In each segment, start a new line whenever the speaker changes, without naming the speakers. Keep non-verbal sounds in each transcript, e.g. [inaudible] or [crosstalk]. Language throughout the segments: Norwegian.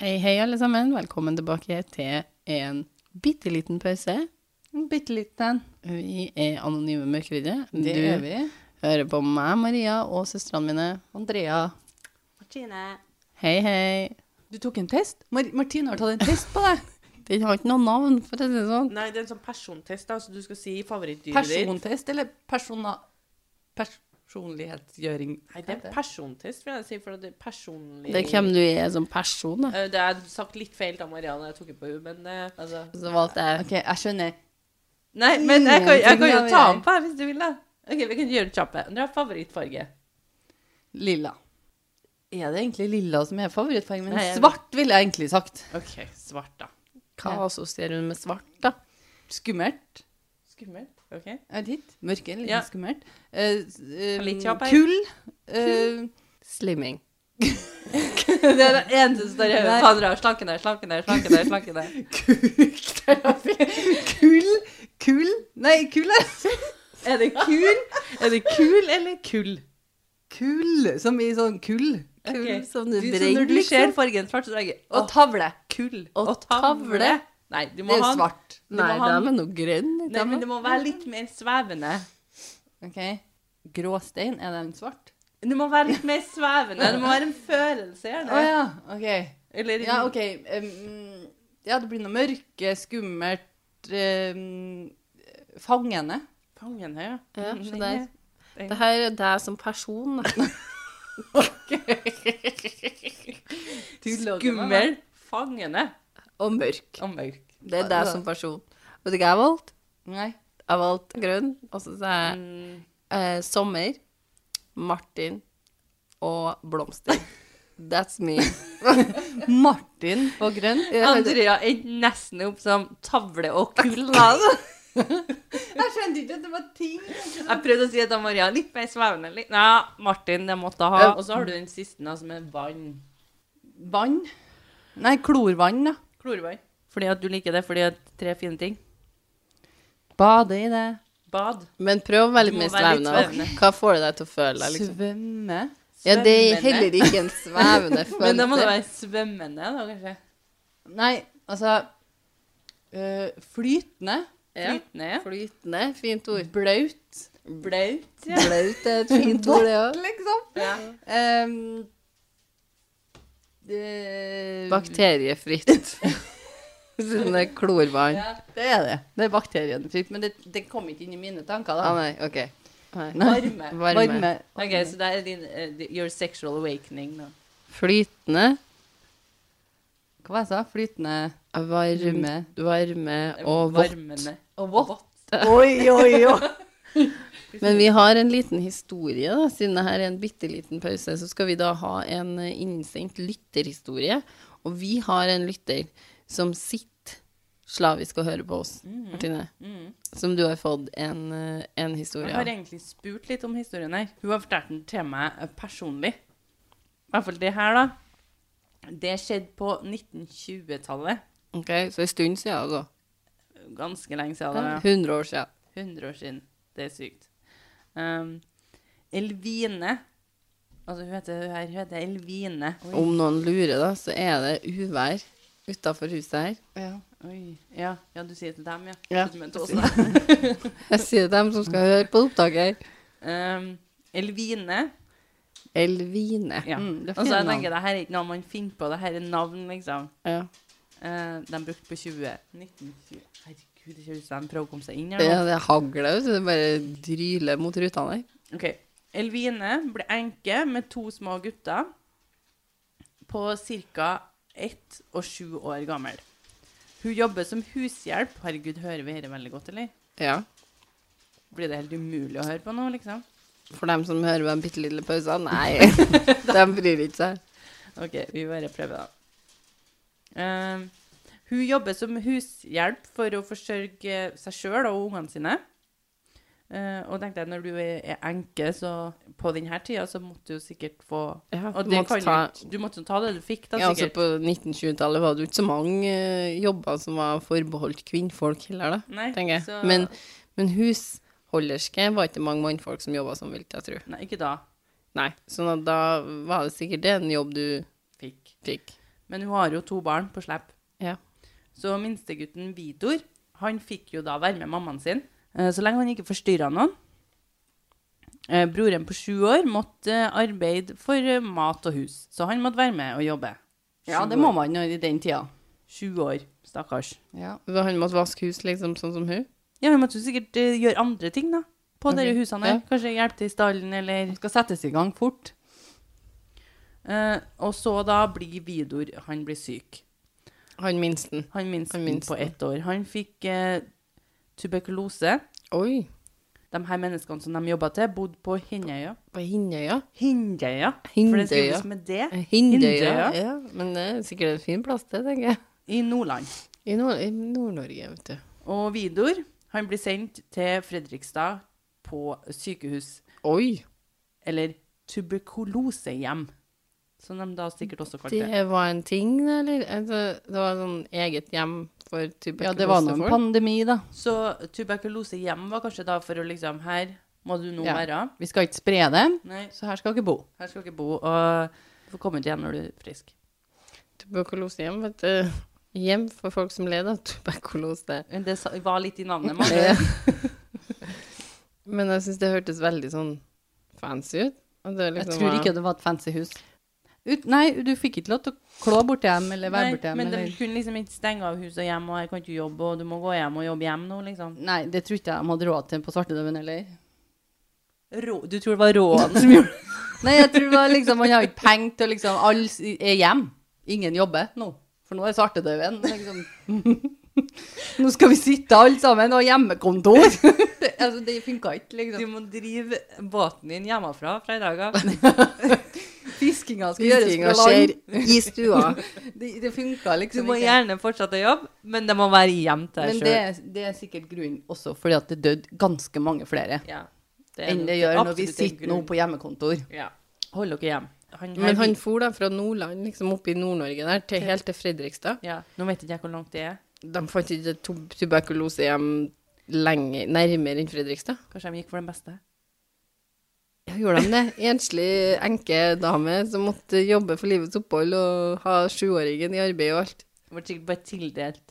Hei, hei, alle sammen. Velkommen tilbake til en bitte liten pause.
En Mm, bitte liten.
Vi er Anonyme mørkevidde.
Det
du
er vi.
hører på meg, Maria, og søstrene mine.
Andrea. Martine.
Hei, hei.
Du tok en test? Mar Martine har tatt en test på deg.
Den har ikke noe navn, for å si det sånn.
Nei, det er en sånn persontest, da, så du skal si favorittdyret ditt.
Persontest eller persona... Personlighetsgjøring.
Nei, det er persontest, vil jeg si, for det er personlig
Det er hvem du er som person, da.
Eh, Det er sagt litt feil av Marianne, jeg tok det på henne, men eh, altså
Så valgte jeg
OK, jeg skjønner.
Nei, men jeg kan, jeg kan jo
Ingenting
ta
av jeg.
den på her hvis du vil, da. OK, vi kan gjøre det kjappe. Du har favorittfarge.
Lilla. Er det egentlig lilla som er favorittfargen min?
Nei, jeg-
Svart, ville jeg egentlig sagt.
OK, svart, da.
Hva assosierer hun med svart, da?
Skummelt.
Skummelt. OK.
Jeg vet ikke. Mørke, litt
Ja.
skummelt. Eh, s- eh,
Litt kjapp her.
kull. Eh,
Slimming.
[laughs]
Det er det eneste som står i
Nei.
hodet. Fader, jeg har slanke deg, slanke deg, slanke deg, slanke deg.
[laughs] kull. Kull. Nei, kull er
[laughs] Er det kul? Er det kul eller kull?
Kull, som i sånn kull.
Kull
Ok.
som du
Du, så
brenner,
når du ser
liksom.
fargen svart, så tenker jeg
Og
Å,
tavle.
kull.
og
Å, tavle. Nei, du
Det
må
er jo
ha en
svart.
Du må
Nei,
ha-
de er noe grønn.
Nei, men det må være litt mer svevende.
Ok. Gråstein, er den svart?
Det må være litt mer svevende. Det må være en følelse,
Å
gjerne.
ja, ok.
Eller
Ja, ok. em, ja, det blir noe mørke, skummelt, em, fangende.
Fangen her,
Ja,
Mm,
se
den
der.
er- den-
Det her er deg som person, da.
altså.
Skummel, fangende
Og mørk.
og mørk.
Det er deg som person. Vet du hva jeg valgte?
Nei.
Jeg valgte grønn, og så sa jeg
Mm.
eh, sommer, Martin og blomster. That's
[laughs]
me.
Martin og grønn.
Andrea endte nesten opp som tavle og kull. da.
Jeg skjønte ikke at det var ting.
Jeg prøvde å si det til Maria. Litt mer svevende. Litt. Ja, Martin, det måtte jeg ha. Og så har du den siste, da, som er vann.
Vann. Nei, klorvann, da.
Klorvann. Fordi at du liker det fordi at tre fine ting.
Bade i det.
Bad.
Men prøv å være litt
Du må
mer
være litt
svevende.
svevende.
Hva får det deg til å føle deg, liksom?
Svømme.
Ja, det er
Svømmende.
heller ikke en svevende følelse.
[laughs] Men da må det være svømmende, da, kanskje?
Nei, altså øh, Flytende.
Ja.
Flytende? Ja.
Flytende. Fint ord.
Blaut.
Blaut? [laughs] Ja.
Blaut er et fint ord, det òg.
Liksom.
ja.
Ehm, det-
Bakteriefritt. [laughs] Siden det er klorvann.
Ja, det er det. Det er bakterienfritt. Men det, det kom ikke inn i mine tanker,
Ah,
da.
nei, OK. Nei.
Varme.
Varme.
Ok, så det er din eh, di- Your sexual awakening, da.
Flytende,
Hva var det jeg sa? Flytende
[laughs] varme,
Mm.
Varme.
varme og vått.
Varmende.
og
vått.
Oi, oi, oi.
Men vi har en liten historie, da. Siden det her er en bitte liten pause, så skal vi da ha en eh, innsendt lytterhistorie. Og vi har en lytter som sitter slavisk og hører på oss,
Mm.
Martine. Som du har fått en, eh, en
Jeg
historie
har
av.
egentlig spurt litt om historien her. Hun har fortalt den til meg eh, personlig. I hvert fall det her, da. Det skjedde på 1920-tallet.
Ok, Så en stund siden, altså.
Ganske lenge siden. Da.
100 år siden.
100 år siden. Det er sykt. Um, Elvine Altså, hun heter, hun her, hun heter Elvine. Oi.
Om noen lurer, da, så er det uvær utafor huset her. [laughs]
Oi. Ja. ja, du sier til dem, ja?
Ja.
Du mente oss, da.
Jeg sier til dem som skal høre på opptaket her.
Um, Elvine
Elvine.
Ja.
Mm, det er
og så jeg
fine navn.
tenker, det her er ikke noe man finner på, det her er navn, liksom.
Ja.
Eh, de brukte på 20. 1920. Herregud, det ser ut som de prøver å komme seg inn her.
Ja,
nå.
det hagler, så det bare dryler mot rutene her.
Ok. Elvine ble enke med to små gutter på ca. ett og sju år gammel. Hun jobber som hushjelp. Herregud, hører vi dette veldig godt, eller?
Ja.
Blir det helt umulig å høre på nå, liksom?
For dem som hører med en bitte lille pause, [laughs] nei, de bryr ikke seg.
Ok, vi bare prøver da. Ehm, hun jobber som hushjelp for å forsørge seg sjøl og ungene sine. Eh, og tenkte jeg, når du er, er enke, så på denne tida, så måtte du sikkert få
Ja,
Og
du
det
måtte
kan
ta-
jo ikke- Du måtte jo ta det du fikk, da,
Ja, altså
sikkert.
På 1920-tallet var det jo ikke så mange eh, jobber som var forbeholdt kvinnfolk heller, da,
Nei,
tenker jeg.
så-
Men, men husholderske var ikke mange mannfolk som jobba som vilt, jeg tror.
Nei, ikke da.
Nei, sånn at da var det sikkert det en jobb du
Fikk.
fikk.
Men hun har jo to barn på slep.
Ja.
Så minstegutten Vidor, han fikk jo da være med mammaen sin, eh, så lenge han ikke forstyrra noen. Eh, Broren på sju år måtte eh, arbeide for eh, mat og hus, så han måtte være med og jobbe.
Ja,
Sju
det må
år.
man jo i den tida.
Sju år, stakkars.
Ja.
Han måtte vaske hus, liksom, sånn som hun?
Ja, hun måtte jo sikkert eh, gjøre andre ting, da. På
Ok,
dere husene her. Kanskje hjelpe til i stallen, eller
Det skal settes i gang fort.
eh, Og så da blir Vidor Han blir syk.
Han minsten.
Han minst,
Han minsten.
på ett år. Han fikk eh, tuberkulose.
Oi.
De her menneskene som de jobba til, bodde på Hindøya.
På Hindøya?
Hindøya. For det
Hindøya.
skrives med det.
Hindøya.
Hindøya.
Ja, men det er sikkert en fin plass, det, tenker jeg.
I Nordland.
I Nord- i Nord-Norge, vet du.
Og Vidor han blir sendt til Fredrikstad på sykehus,
Oi.
eller tuberkulosehjem, som de da sikkert også kalte det.
Det var en ting, det, eller? Altså, det var sånn eget hjem for tuberkulosefolk?
Ja, det var nå en pandemi, da.
Så tuberkulosehjem var kanskje da for å liksom Her må du nå
Ja.
være.
Vi skal ikke spre det,
Nei,
så her skal dere bo.
her skal du ikke bo, og du får komme ut igjen når du er frisk.
Tuberkulosehjem, vet du. Hjem for folk som led av tuberkulose.
Det sa- var litt i [laughs] navnet. Man.
Men jeg syns det hørtes veldig sånn fancy ut. At det
Jeg
liksom
tror
var-
ikke det var et fancy hus. Ut, nei, du fikk ikke lov til å klå borti dem eller være borti dem.
men de
eller...
kunne liksom ikke stenge av hus og hjem, og jeg kan ikke jobbe, og du må gå hjem og jobbe hjem nå, liksom.
Nei, det tror ikke jeg de hadde råd til på Svartedauden heller.
Rå, du tror det var råden [laughs] som gjorde
Nei, jeg tror det var liksom Man har ikke penger til å liksom Alle s- er hjem. Ingen jobber nå. For nå er svartedauden liksom [laughs] Nå skal vi sitte alle sammen og ha [laughs] hjemmekontor! det, altså, det funka ikke,
Du
liksom.
må drive båten din hjemmefra fra i dag av.
Fiskinga skal gjøres
Fiskinga
fra land.
skjer
[laughs]
i stua.
Det, det funka
Du
liksom
må gjerne fortsette å jobbe, men det må være hjem til deg
Men det,
sjøl.
det er sikkert grunnen også fordi at det døde ganske mange flere
Ja, det er
enn det
nok
gjør når vi
absolutt en
sitter nå
grunn.
på hjemmekontor.
Ja. Hold dere hjem. Han-
Men han for da fra Nordland, liksom oppe i Nord-Norge der, til, helt til Fredrikstad.
ja. Nå vet ikke jeg hvor langt det er.
De fant ikke et tu- tuberkulosehjem lenger, nærmere enn Fredrikstad.
Kanskje de gikk for den beste?
Ja, gjorde de det? [laughs] Enslig enkedame som måtte jobbe for livets opphold og ha sjuåringen i arbeid og alt.
Det ble sikkert bare tildelt.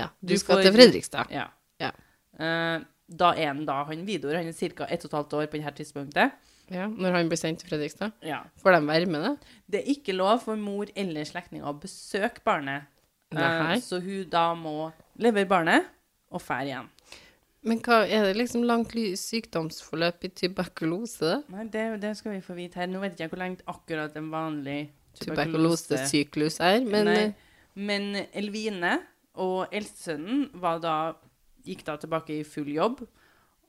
Ja, du,
Du
skal
får-
til Fredrikstad.
Ja.
Ja.
Eh, da er han da han Vidor. Han er ca. 1 12 år på dette tidspunktet.
Ja, når han blir sendt til Fredrikstad.
Ja.
Får de være med, da?
Det er ikke lov for mor eller slektninger å besøke barnet, Eh,
Nei.
så hun da må levere barnet og fære igjen.
Men hva, er det liksom langt ly- sykdomsforløp i tuberkulose? da?
Nei, det, det skal vi få vite her. Nå vet jeg ikke hvor lenge akkurat en vanlig tuberkulose
Tuberkulosesyklus er, men
Nei,
eh,
men Elvine og eldstesønnen var da Gikk da tilbake i full jobb.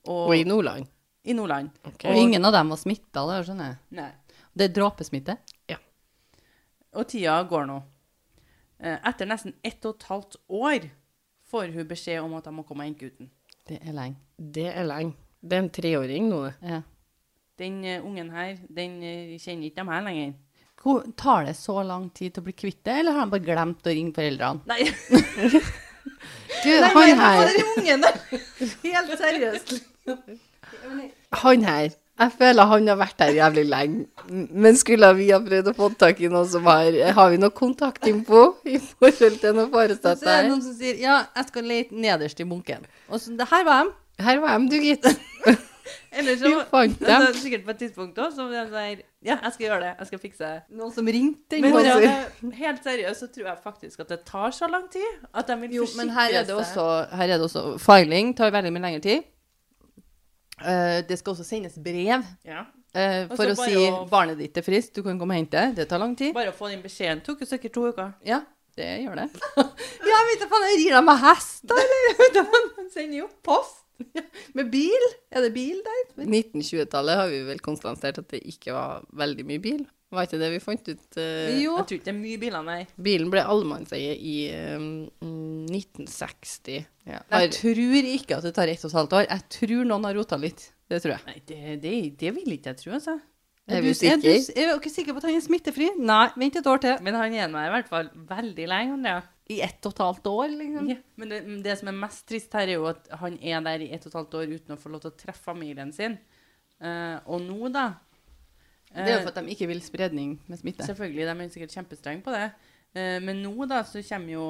Og,
Og i Nordland.
i Nordland.
Ok.
Og ingen av dem var smitta, det skjønner jeg.
Nei.
Det er dråpesmitte.
Og tida går nå. Eh, Etter nesten ett og et halvt år får hun beskjed om at hun må komme og hente gutten.
Det er lenge.
Det er lenge. Det er en treåring nå, det.
Ja.
Den eh, ungen her, den eh, kjenner ikke dem her lenger.
Hvor, tar det så lang tid til å bli kvitt det, eller har han bare glemt å ringe foreldrene?
Nei,
Du, han her,
[laughs] den ungen der! Helt seriøst.
han her. Jeg føler han har vært her jævlig lenge. M- Men skulle vi ha prøvd å få tak i noen som har Har vi noe kontaktinfo i forhold til noe foretatt
Så er det
der?
noen som sier ja, jeg skal lete nederst i bunken. Og så, det her var dem.
Her var dem, du, gitt.
[laughs]
Eller så
Vi fant
altså,
dem.
Sikkert på et tidspunkt òg, som den der Ja, jeg skal gjøre det. Jeg skal fikse det.
Noen som ringte.
Men
inn på oss.
ja, helt seriøst så tror jeg faktisk at det tar så lang tid at de vil
jo, men her er, det
forsikre seg.
også, her er det også Filing tar veldig mye lengre tid. Eh, det skal også sendes brev
ja.
eh,
Og
for
så
å
bare
si
å-
barnet ditt er friskt, du kan komme og hente. Det tar lang tid.
Bare å få den beskjeden tok jo sikkert to uker.
Ja, det gjør det. [laughs] ja, vet du faen, jeg rir dem med hest, da, eller? Vet du faen,
Han sender jo post.
Med bil? Er det bil der?
1920-tallet har vi vel konstatert at det ikke var veldig mye bil. Var ikke det vi fant ut? eh,
Jo.
Jeg tror ikke det er mye biler, nei.
Bilen ble allemannseie i eh, mm, 1960.
Jeg tror ikke at det tar ett og et halvt år. Jeg tror noen har rota litt. Det tror jeg.
Nei, det, det, det vil ikke jeg tro, altså.
Er vi
Er, du,
sikre?
er dere sikre på at han er smittefri? Nei, vent et år til.
Men han er meg i hvert fall veldig lenge, Andrea.
I ett og et halvt år, liksom.
Ja, men det, men det som er mest trist her, er jo at han er der i ett og et halvt år uten å få lov til å treffe familien sin. Eh, og nå, da eh,
Det er jo for at de ikke vil spredning med smitte.
Selvfølgelig, de er sikkert kjempestrenge på det. Eh, Men nå da, så kommer jo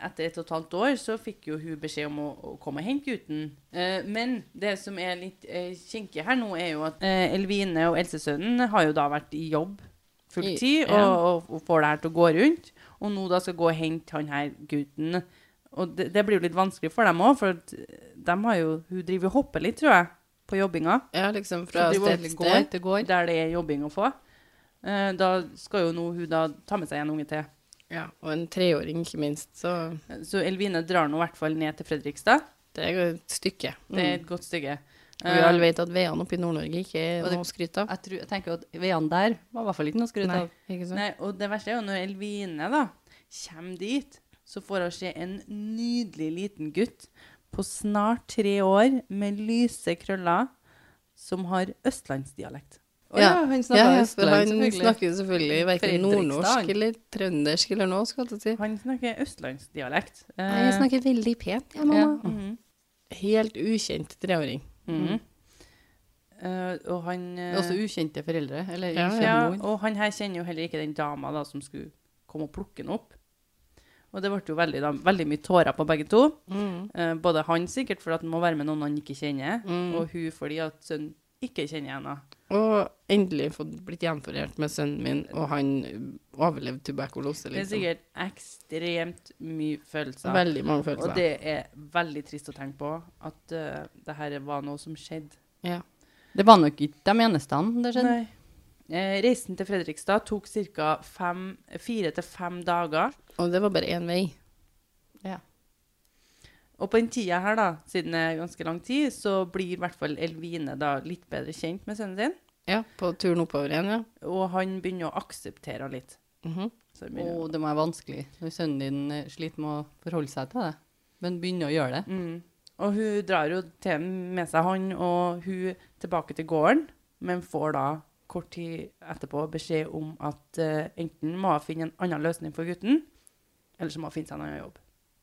Etter et og et halvt år så fikk jo hun beskjed om å, å komme og hente gutten. Eh, Men det som er litt eh, kinkig her nå, er jo at eh, Elvine og Else-sønnen har jo da vært i jobb
I-
fulltid
ja.
og, og, og får det her til å gå rundt. Og nå da skal gå og hente han her gutten. Og det, det blir jo litt vanskelig for dem òg, for at de har jo, hun driver og hopper litt, tror jeg, på jobbinga.
Ja, liksom
Fra
fra sted til
går
sted.
til går.
Der det er jobbing å få. Eh, Da skal jo nå hun da ta med seg en unge til.
Ja, og en treåring, ikke minst. Så
Så Elvine drar nå i hvert fall ned til Fredrikstad.
det er jo et stykke. Mm.
Det er et godt stykke. Eh,
Og vi alle vet at veiene oppe i Nord-Norge ikke er
Eh. Og det-
noe å skryte av.
Jeg, tror, jeg tenker at veiene der var i hvert fall ikke noe å skryte
Nei,
av.
ikke sant?
Nei, og det verste er jo når Elvine da kommer dit, så får hun se en nydelig liten gutt på snart tre år med lyse krøller som har østlandsdialekt.
Å ja, han snakket
ja, ja,
østland,
for Han
selvfølgelig.
snakker jo selvfølgelig verken
Fredrikstad, Eh. han.
nordnorsk eller trøndersk eller noe, skal jeg til å si.
Han snakker østlandsdialekt. Eh, mm,
Nei, jeg snakker veldig pent, jeg,
mamma.
mamma. Helt ukjent treåring. Mm.
Mhm. Eh, og han eh,
Også ukjente foreldre, eller
Ja,
ukjent
ja,
mor.
og han her kjenner jo heller ikke den dama da som skulle komme og plukke den opp. Og det ble jo veldig, da, veldig mye tårer på begge to.
Mm.
Eh, både han sikkert fordi at han må være med noen han ikke kjenner,
Mm.
og hun fordi at sønnen ikke kjenner henne.
Og endelig fått blitt gjenforent med sønnen min, og han ø, overlevde tuberkulose,
Det er
liksom.
sikkert ekstremt mye følelser.
Veldig mange følelser.
og det er veldig trist å tenke på at eh, det her var noe som skjedde.
Ja.
Det var nok ikke de eneste han, det skjønner.
Nei. Eh, reisen til Fredrikstad tok ca. fire til fem dager.
Og det var bare én vei.
Ja.
Og på den tida her, da, siden det er ganske lang tid, så blir i hvert fall Elvine da litt bedre kjent med sønnen sin.
Ja, på turen oppover igjen, ja.
Og han begynner å akseptere henne litt.
Mhm.
Så han begynner,
Og det må være vanskelig når sønnen din eh, sliter med å forholde seg til det, men begynner å gjøre det.
mm. Og hun drar jo til med seg han og hun tilbake til gården, men får da kort tid etterpå beskjed om at eh, enten må hun finne en annen løsning for gutten, eller så må hun finne seg en annen jobb.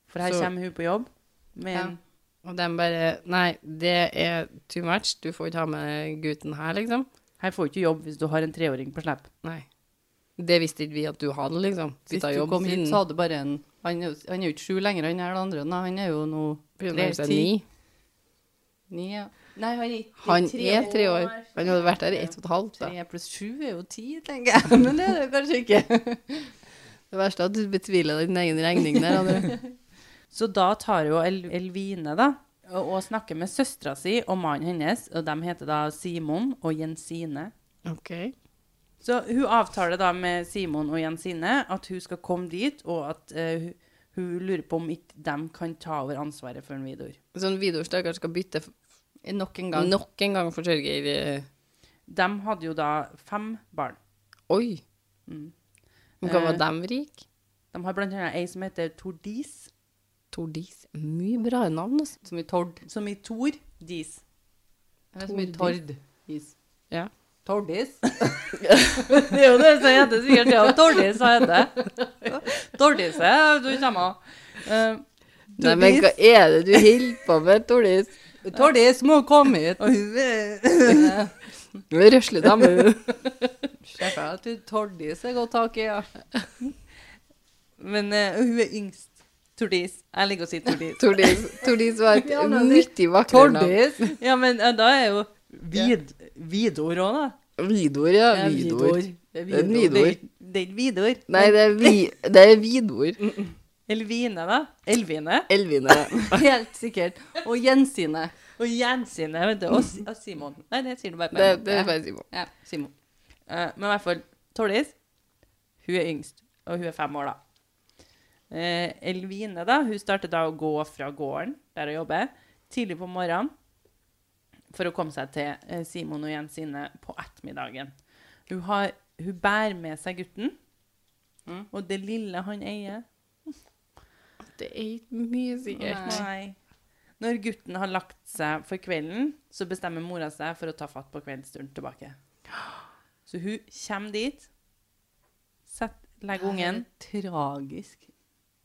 For her
Så-
kommer hun på jobb med en
Og de bare Nei, det er too much. Du får ikke ha med gutten her, liksom.
Her får du ikke jobb hvis du har en treåring på slep.
Nei. Det visste ikke vi at du hadde, liksom.
Hvis
Bytta
du
jobb
kom
siden-
hit, så hadde bare en Han er jo, han er jo ikke sju lenger, han er det andre. Nei, han er jo nå
begynner å
tre,
nærme seg
ti.
ni.
ni. Ja. Nei, han er ikke
Han er tre år. Han hadde vært der i ett og et halvt. Da.
Tre pluss sju er jo ti, tenker [laughs] jeg. Men det er det jo kanskje ikke.
Det verste er at du betviler din egen regning der. Andre.
Så da tar jo El Elvine da, og, og snakker med søstera si og mannen hennes, og de heter da Simon og Jensine.
Ok.
Så hun avtaler da med Simon og Jensine at hun skal komme dit, og at eh, hun- hun lurer på om ikke de kan ta over ansvaret for en Vidor.
Sånn Vidor stakkar skal bytte f-
Eh, Nok en gang.
nok en gang forsørger. eh,
De hadde jo da fem barn.
Oi!
Mm.
Men hva var
Eh.
dem rik?
De har blant annet ei som heter Tordis,
Tordis. Mye bra navn, altså.
Så mye tord.
som i Tor Dis.
[laughs] Det er så mye tord. Is.
Ja.
Tordis.
Det er jo det som heter sikkert det, og Tordis har hette. Tordis er du kommer av. Eh,
Nei, men hva er det du holder på med, Tordis?
Tordis må komme hit.
og hun er
Nå røsler
[laughs]
de.
Sjef, jeg tror Tordis er godt tak i. Ja.
Men eh, hun er yngst. Tordis. Jeg liker å si Tordis.
Tordis, Tordis var et
Ja, men det-
mye vakrere navn.
Tordis.
ja, men eh, da er jo vid, Vidor òg, da. Eh,
Vidor, ja.
Det er
Vidor.
Det
Det er en vidor.
Det er ikke- det er ikke Vidor.
Nei, det er, vi, det er Vidor.
Elvine, da. Elvine.
Elvine.
[laughs] Helt sikkert. Og Jensine.
Og Jensine, vet du. Og, Si- og Simon. Nei, det sier du bare på
Det,
en
det
måte.
er bare Simon.
Ja, Simon.
Eh, Men i hvert fall, Tordis, hun er yngst. Og hun er fem år, da. Eh, Elvine, da, hun starter da å gå fra gården, der hun jobber, tidlig på morgenen for å komme seg til eh, Simon og Jensine på ettermiddagen. Hun, har, hun bærer med seg gutten,
Mm.
og det lille han eier
Det er ikke mye sikkert.
Nei. Når gutten har lagt seg for kvelden, så bestemmer mora seg for å ta fatt på kveldsstunden tilbake. Så hun kommer dit, sett, legger ungen,
Tragisk.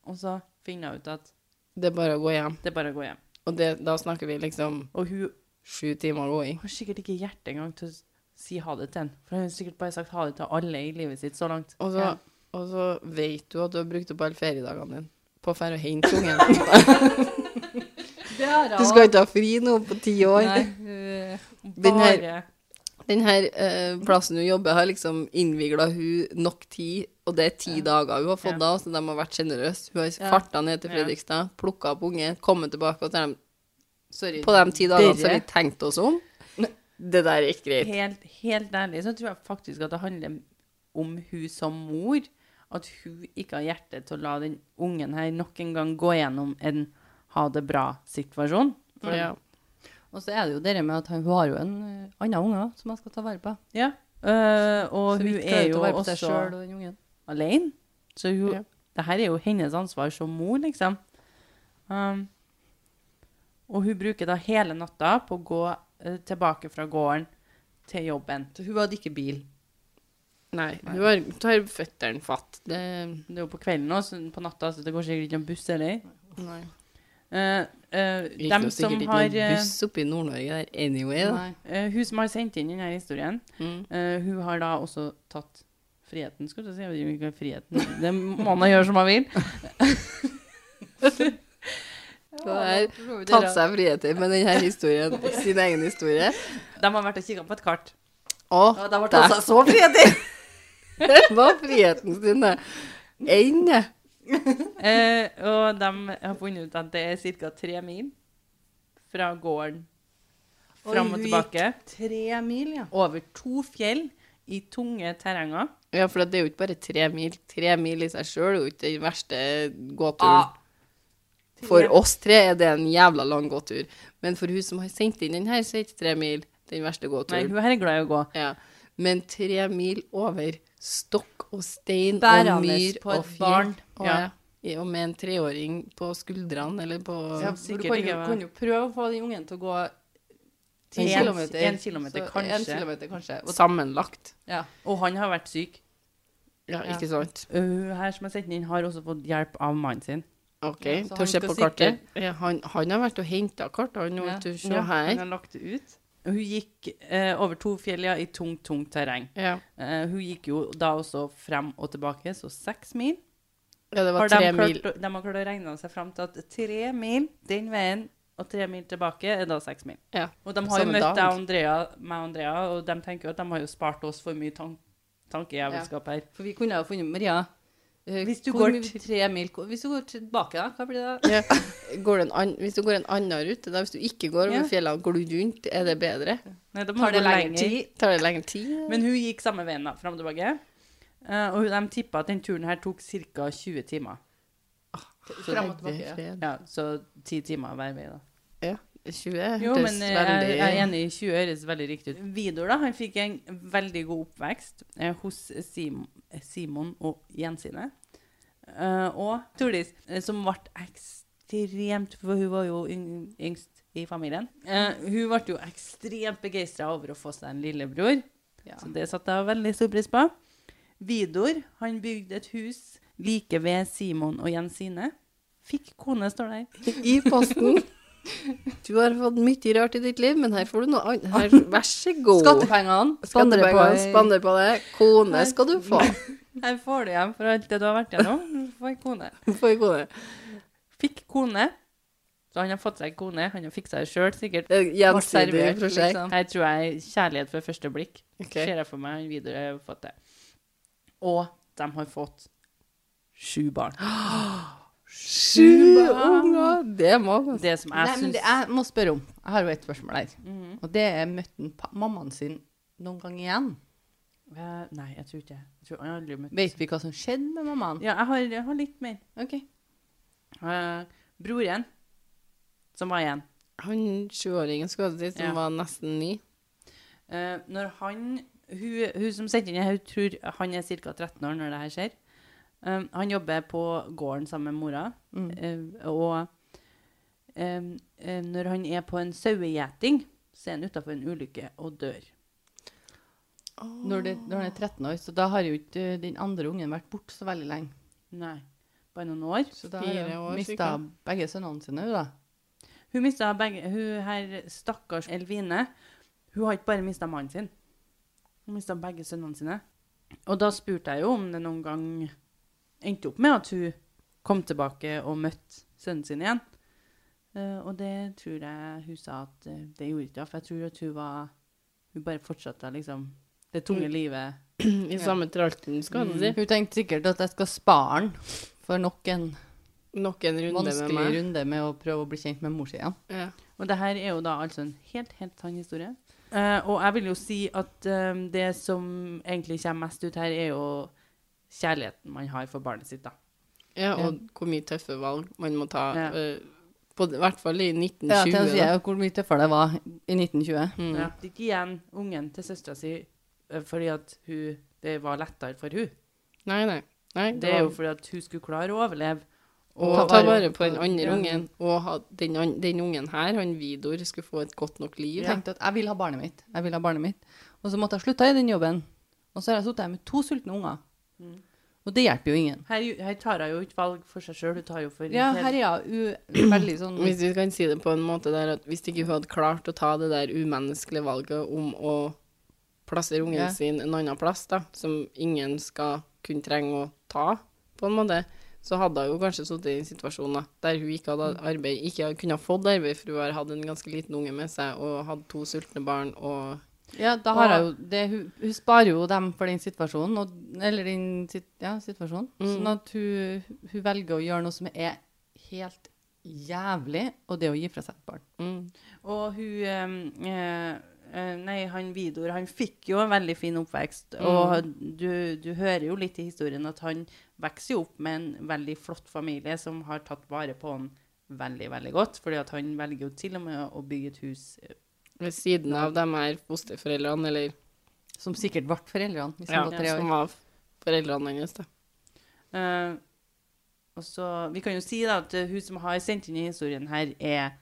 og så finner hun ut at
Det er bare å gå hjem.
det er bare å gå hjem.
Og det, da snakker vi liksom
Og hun
sju timer going.
har sikkert ikke hjerte engang til å si ha det til henne. For hun har sikkert bare sagt ha det til alle i livet sitt så langt.
Og så
Ja.
Og så vet du at du har brukt opp alle feriedagene dine på å dra og hente ungen. Du skal ikke ha fri nå på ti år. [laughs]
Nei, øh,
Den her-
Bare
Den her eh, plassen hun jobber, har liksom innvigla hun nok tid, og det er ti dager hun har fått
Ja.
da, så de har vært sjenerøse. Hun har
Ja.
farta ned til
Ja.
Fredrikstad, plukka opp unge, kommet tilbake, og så har de-
sorry.
på de ti dagene så har vi
Dere.
tenkt oss om. Det der er ikke greit.
helt, helt ærlig så tror jeg faktisk at det handler om hun som mor. At hun ikke har hjerte til å la den ungen her nok en gang gå gjennom en ha det bra-situasjon. For-
Ja.
Og så er det jo det med at han- hun har jo en øh, annen unge som hun skal ta vare på.
Ja. Øh, og
Så
hun
vidt klarer
er
å
jo
ta vare på
også
seg selv og den ungen.
alene. Så hun,
Ja.
det her er jo hennes ansvar som mor, liksom. Um, og hun bruker da hele natta på å gå eh, tilbake fra gården til jobben.
Så hun hadde ikke bil.
Nei, hun har, tar føttene fatt. Det
Det er jo på kvelden nå, så på natta, så det går sikkert ikke noen buss heller.
Nei.
Eh, eh,
Det gikk
dem
jo
som
sikkert ikke
har
noen
eh,
buss oppe i Nord-Norge der anyway, da.
Nei.
eh, Hun som har sendt inn denne historien,
Mm.
eh, hun har da også tatt friheten Skal du si, jeg vet ikke hva friheten Det må man gjøre som
[laughs]
man vil.
Så
[laughs]
har tatt seg friheter med denne historien, sin egen historie.
De har vært og kikka på et kart.
Å, [laughs]
Ja, de har
der
tatt seg så friheter!
Det var friheten sin, det. Enn det.
Eh, og de har funnet ut at det er ca. tre mil fra gården
Oi,
fram og
hun
tilbake.
Tre mil, ja.
Over to fjell i tunge terrenger.
Ja, for det er jo ikke bare tre mil. Tre mil i seg sjøl er jo ikke den verste gåturen.
Ah.
For oss tre er det en jævla lang gåtur. Men for hun som har sendt inn den her, så er ikke tre mil den verste
Nei,
gåturen.
hun her er glad i å gå.
Ja. Men tre mil over stokk og stein
Bærende
og myr
på et
og fjell.
barn.
Å,
Ja.
ja. Ja, Og med en treåring på skuldrene eller på
Ja, for
Som
du
sikkert
kan jo,
ikke var-
kan jo prøve å få den ungen til å gå ti
En
kilometer.
en kilometer,
Så
kanskje.
En kilometer, kanskje. Og,
Sammenlagt.
ja.
Og han har vært syk.
Ja,
Ja.
ikke sant?
Hun her som har sendt den inn, har også fått hjelp av mannen sin.
OK,
Ja,
til
så
å
han
se
skal
på kartet. Ja, han, han har vært og henta kart, han nå.
Ja.
til å Se her.
Hun har lagt det ut. Hun gikk eh, over to fjell ja, i tungt, tungt terreng.
Ja.
Eh, hun gikk jo da også frem og tilbake, så seks mil.
ja, det var
Har de,
tre mil.
klart, å- de har klart å regne seg frem til at tre mil den veien og tre mil tilbake er da seks mil.
[laughs]
Ja.
Og de har jo
Samme
møtt
dag.
deg og Andrea, meg og Andrea, og de tenker jo at de har jo spart oss for mye tan tankejævelskap her.
For vi kunne ha funnet Maria. eh,
Hvis du
hvor
går
mye-
til-
tre mil ko- Hvis du går tilbake, da? Hva blir det da?
Ja. Går det en an hvis du går en annen rute, da, hvis du ikke går over
Ja.
fjellene og glur rundt, er det bedre?
Nei, de
Tar
har
det
gått
lengre
lenger.
tid?
Tar det lengre tid?
Men hun gikk samme veien da, frem og tilbake. Eh, og de tippa at den turen her tok ca. 20 timer. Så,
Frem og tilbake. Ja.
Fred.
ja, så 10 timer hver vei, da.
Ja. 20 hørtes
Jo, men eh, jeg,
veldig
jeg er enig i 20 høres veldig riktig ut. Vidar da, han fikk en veldig god oppvekst eh, hos Sim Simon og Jensine. Eh, og Tordis, eh, som ble ekstremt For hun var jo yng yngst i familien. Eh, hun ble jo ekstremt begeistra over å få seg en lillebror.
Ja.
Så det satte jeg veldig stor pris på. Vidor han bygde et hus like ved Simon og Jensine. Fikk kone, står det her.
I posten. Du har fått mye rart i ditt liv, men her får du noe annet. Her- Vær så god.
Skattepengene spander på
Skattepengene
ei-
spander på det. Kone skal du få.
Her får du igjen for alt det du har vært gjennom. Du får en kone.
Får kone.
Fikk kone. Så han har fått seg kone. Han har fiksa det sjøl, sikkert.
Det er et
Ble
Gjensidig
servert,
prosjekt.
liksom.
Her tror jeg kjærlighet ved første blikk.
Ok.
Ser jeg for meg han videre har fått det. Og de har fått sju
[gasps]
barn.
Sju unger! Det må man.
Det som
Nei,
jeg
men
syns Mhm.
det, jeg må spørre om. Jeg har jo et spørsmål her. Og det er møtte han pa- mammaen sin noen gang igjen?
Eh, Nei, jeg tror ikke det. Jeg tror jeg har aldri møtt
Vet vi hva som skjedde med mammaen?
Ja, jeg har, jeg har litt mer.
Ok.
Eh, broren, som var igjen
Han sjuåringen skulle jeg til, som
Ja.
var nesten ni.
Eh, når han hun, hun som sendte inn det her, hun tror han er ca. 13 år når det her skjer. Eh, han jobber på gården sammen med mora.
Mm.
Eh, og eh, eh, når han er på en sauegjeting, så er han utafor en ulykke og dør.
Når, det, når han er 13 år, så da har jo ikke eh, den andre ungen vært borte så veldig lenge.
Nei, bare noen år.
Så da
Fire
har
år,
hun mista begge sønnene sine, hun da.
Hun mista begge Hun her stakkars Elvine, hun har ikke bare mista mannen sin. Hun mista begge sønnene sine. Og da spurte jeg jo om det noen gang endte opp med at hun kom tilbake og møtte sønnen sin igjen. Eh, og det tror jeg hun sa at eh, det gjorde ikke hun, for jeg tror at hun var Hun bare fortsatte liksom det tunge livet.
[clears throat] I samme tralten, skal du si.
Mm. Hun tenkte sikkert at jeg skal spare den for nok en
Nok en runde med
vanskelig
meg.
runde med å prøve å bli kjent med mor si igjen.
Ja.
Og det her er jo da altså en helt, helt sann historie. Eh, og jeg vil jo si at eh, det som egentlig kommer mest ut her, er jo kjærligheten man har for barnet sitt, da.
ja, og hvor mye tøffe valg man må ta.
Ja.
eh, På, I hvert fall i
Ja, til å
1920.
si
da.
jeg hvor mye tøffere det var i 1920.
Mm.
Ja. Ikke igjen ungen til søstera si eh, fordi at hun, det var lettere for hun.
Nei, nei. nei
Det er jo fordi at hun skulle klare å overleve.
Og
Ta
ta
vare
vare
på
på den andre
ja.
ungen. Og ha, den, an- den ungen her, han Vidor, skulle få et godt nok liv.
Jeg tenkte at jeg vil ha barnet mitt, jeg vil ha barnet mitt. Og så måtte jeg slutte i den jobben. Og så har jeg sittet her med to sultne unger. Og det hjelper jo ingen.
Her, her tar hun jo ikke valg for seg sjøl, hun tar jo for
Ja,
hele-
her er jeg u veldig sånn
Hvis vi kan si det på en måte der at hvis ikke hun hadde klart å ta det der umenneskelige valget om å plassere ungen
Ja.
sin en annen plass, da, som ingen skal kunne trenge å ta, på en måte, så hadde hun jo kanskje sittet i en situasjon da, der hun ikke hadde hatt arbeid, ikke hadde kunnet fått arbeid, for hun har hatt en ganske liten unge med seg og hadde to sultne barn og
Ja, da har jeg jo det, hun, hun sparer jo dem for den situasjonen, og, eller den sit, ja, situasjonen.
Mm.
Sånn at hun, hun velger å gjøre noe som er helt jævlig, og det er å gi fra seg et barn.
mm.
Og hun eh, eh, eh, Nei, han Vidor, han fikk jo en veldig fin oppvekst. Og du, du hører jo litt i historien at han vokser jo opp med en veldig flott familie som har tatt vare på han veldig, veldig godt. Fordi at han velger jo til og med å bygge et hus eh,
ved siden av de her fosterforeldrene, eller
Som sikkert ble foreldrene hvis
ja,
han var tre år.
som var foreldrene hennes. Da.
Eh, og så, Vi kan jo si da at eh, hun som har sendt inn i historien her, er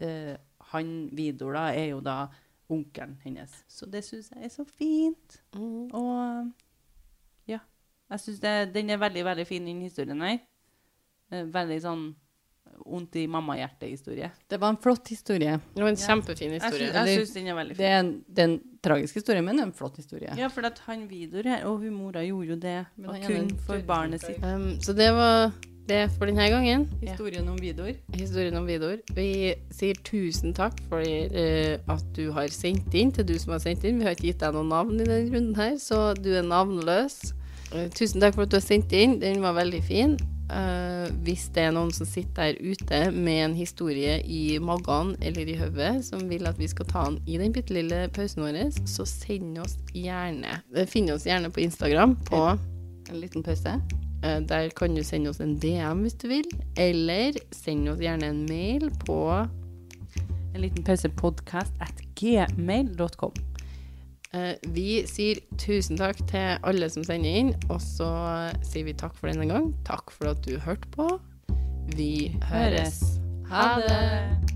eh, Han Vidor, da, er jo da onkelen hennes. Så det syns jeg er så fint.
Mm.
Og ja. Jeg syns den er veldig, veldig fin, den historien her. Eh, veldig sånn vondt i mamma-hjerte-historie.
Det var en flott historie.
Det var en kjempefin
Jeg
historie.
syns- jeg syns den er veldig
Det
fin.
er en, det er en tragisk historie, men en flott historie.
Ja, for at han Vidor her, og hun mora gjorde jo det.
Men
Og
han er
kun
en
for
tørre
barnet
snikker.
sitt.
Um, så det var det for denne gangen.
Historien om Vidor.
Historien om Vidor. Vi sier tusen takk for eh, at du har sendt inn til du som har sendt inn. Vi har ikke gitt deg noe navn i denne runden her, så du er navnløs. Eh, tusen takk for at du har sendt inn. Den var veldig fin. Eh, hvis det er noen som sitter der ute med en historie i magen eller i hodet som vil at vi skal ta den i den bitte lille pausen vår, så send oss gjerne. eh, Finn oss gjerne på Instagram på
En liten pause.
Eh, Der kan du sende oss en DM hvis du vil, eller send oss gjerne en mail på
En liten pause podcast at gmail.com.
Eh, Vi sier tusen takk til alle som sender inn, og så sier vi takk for denne gang. Takk for at du hørte på. Vi høres.
Ha det!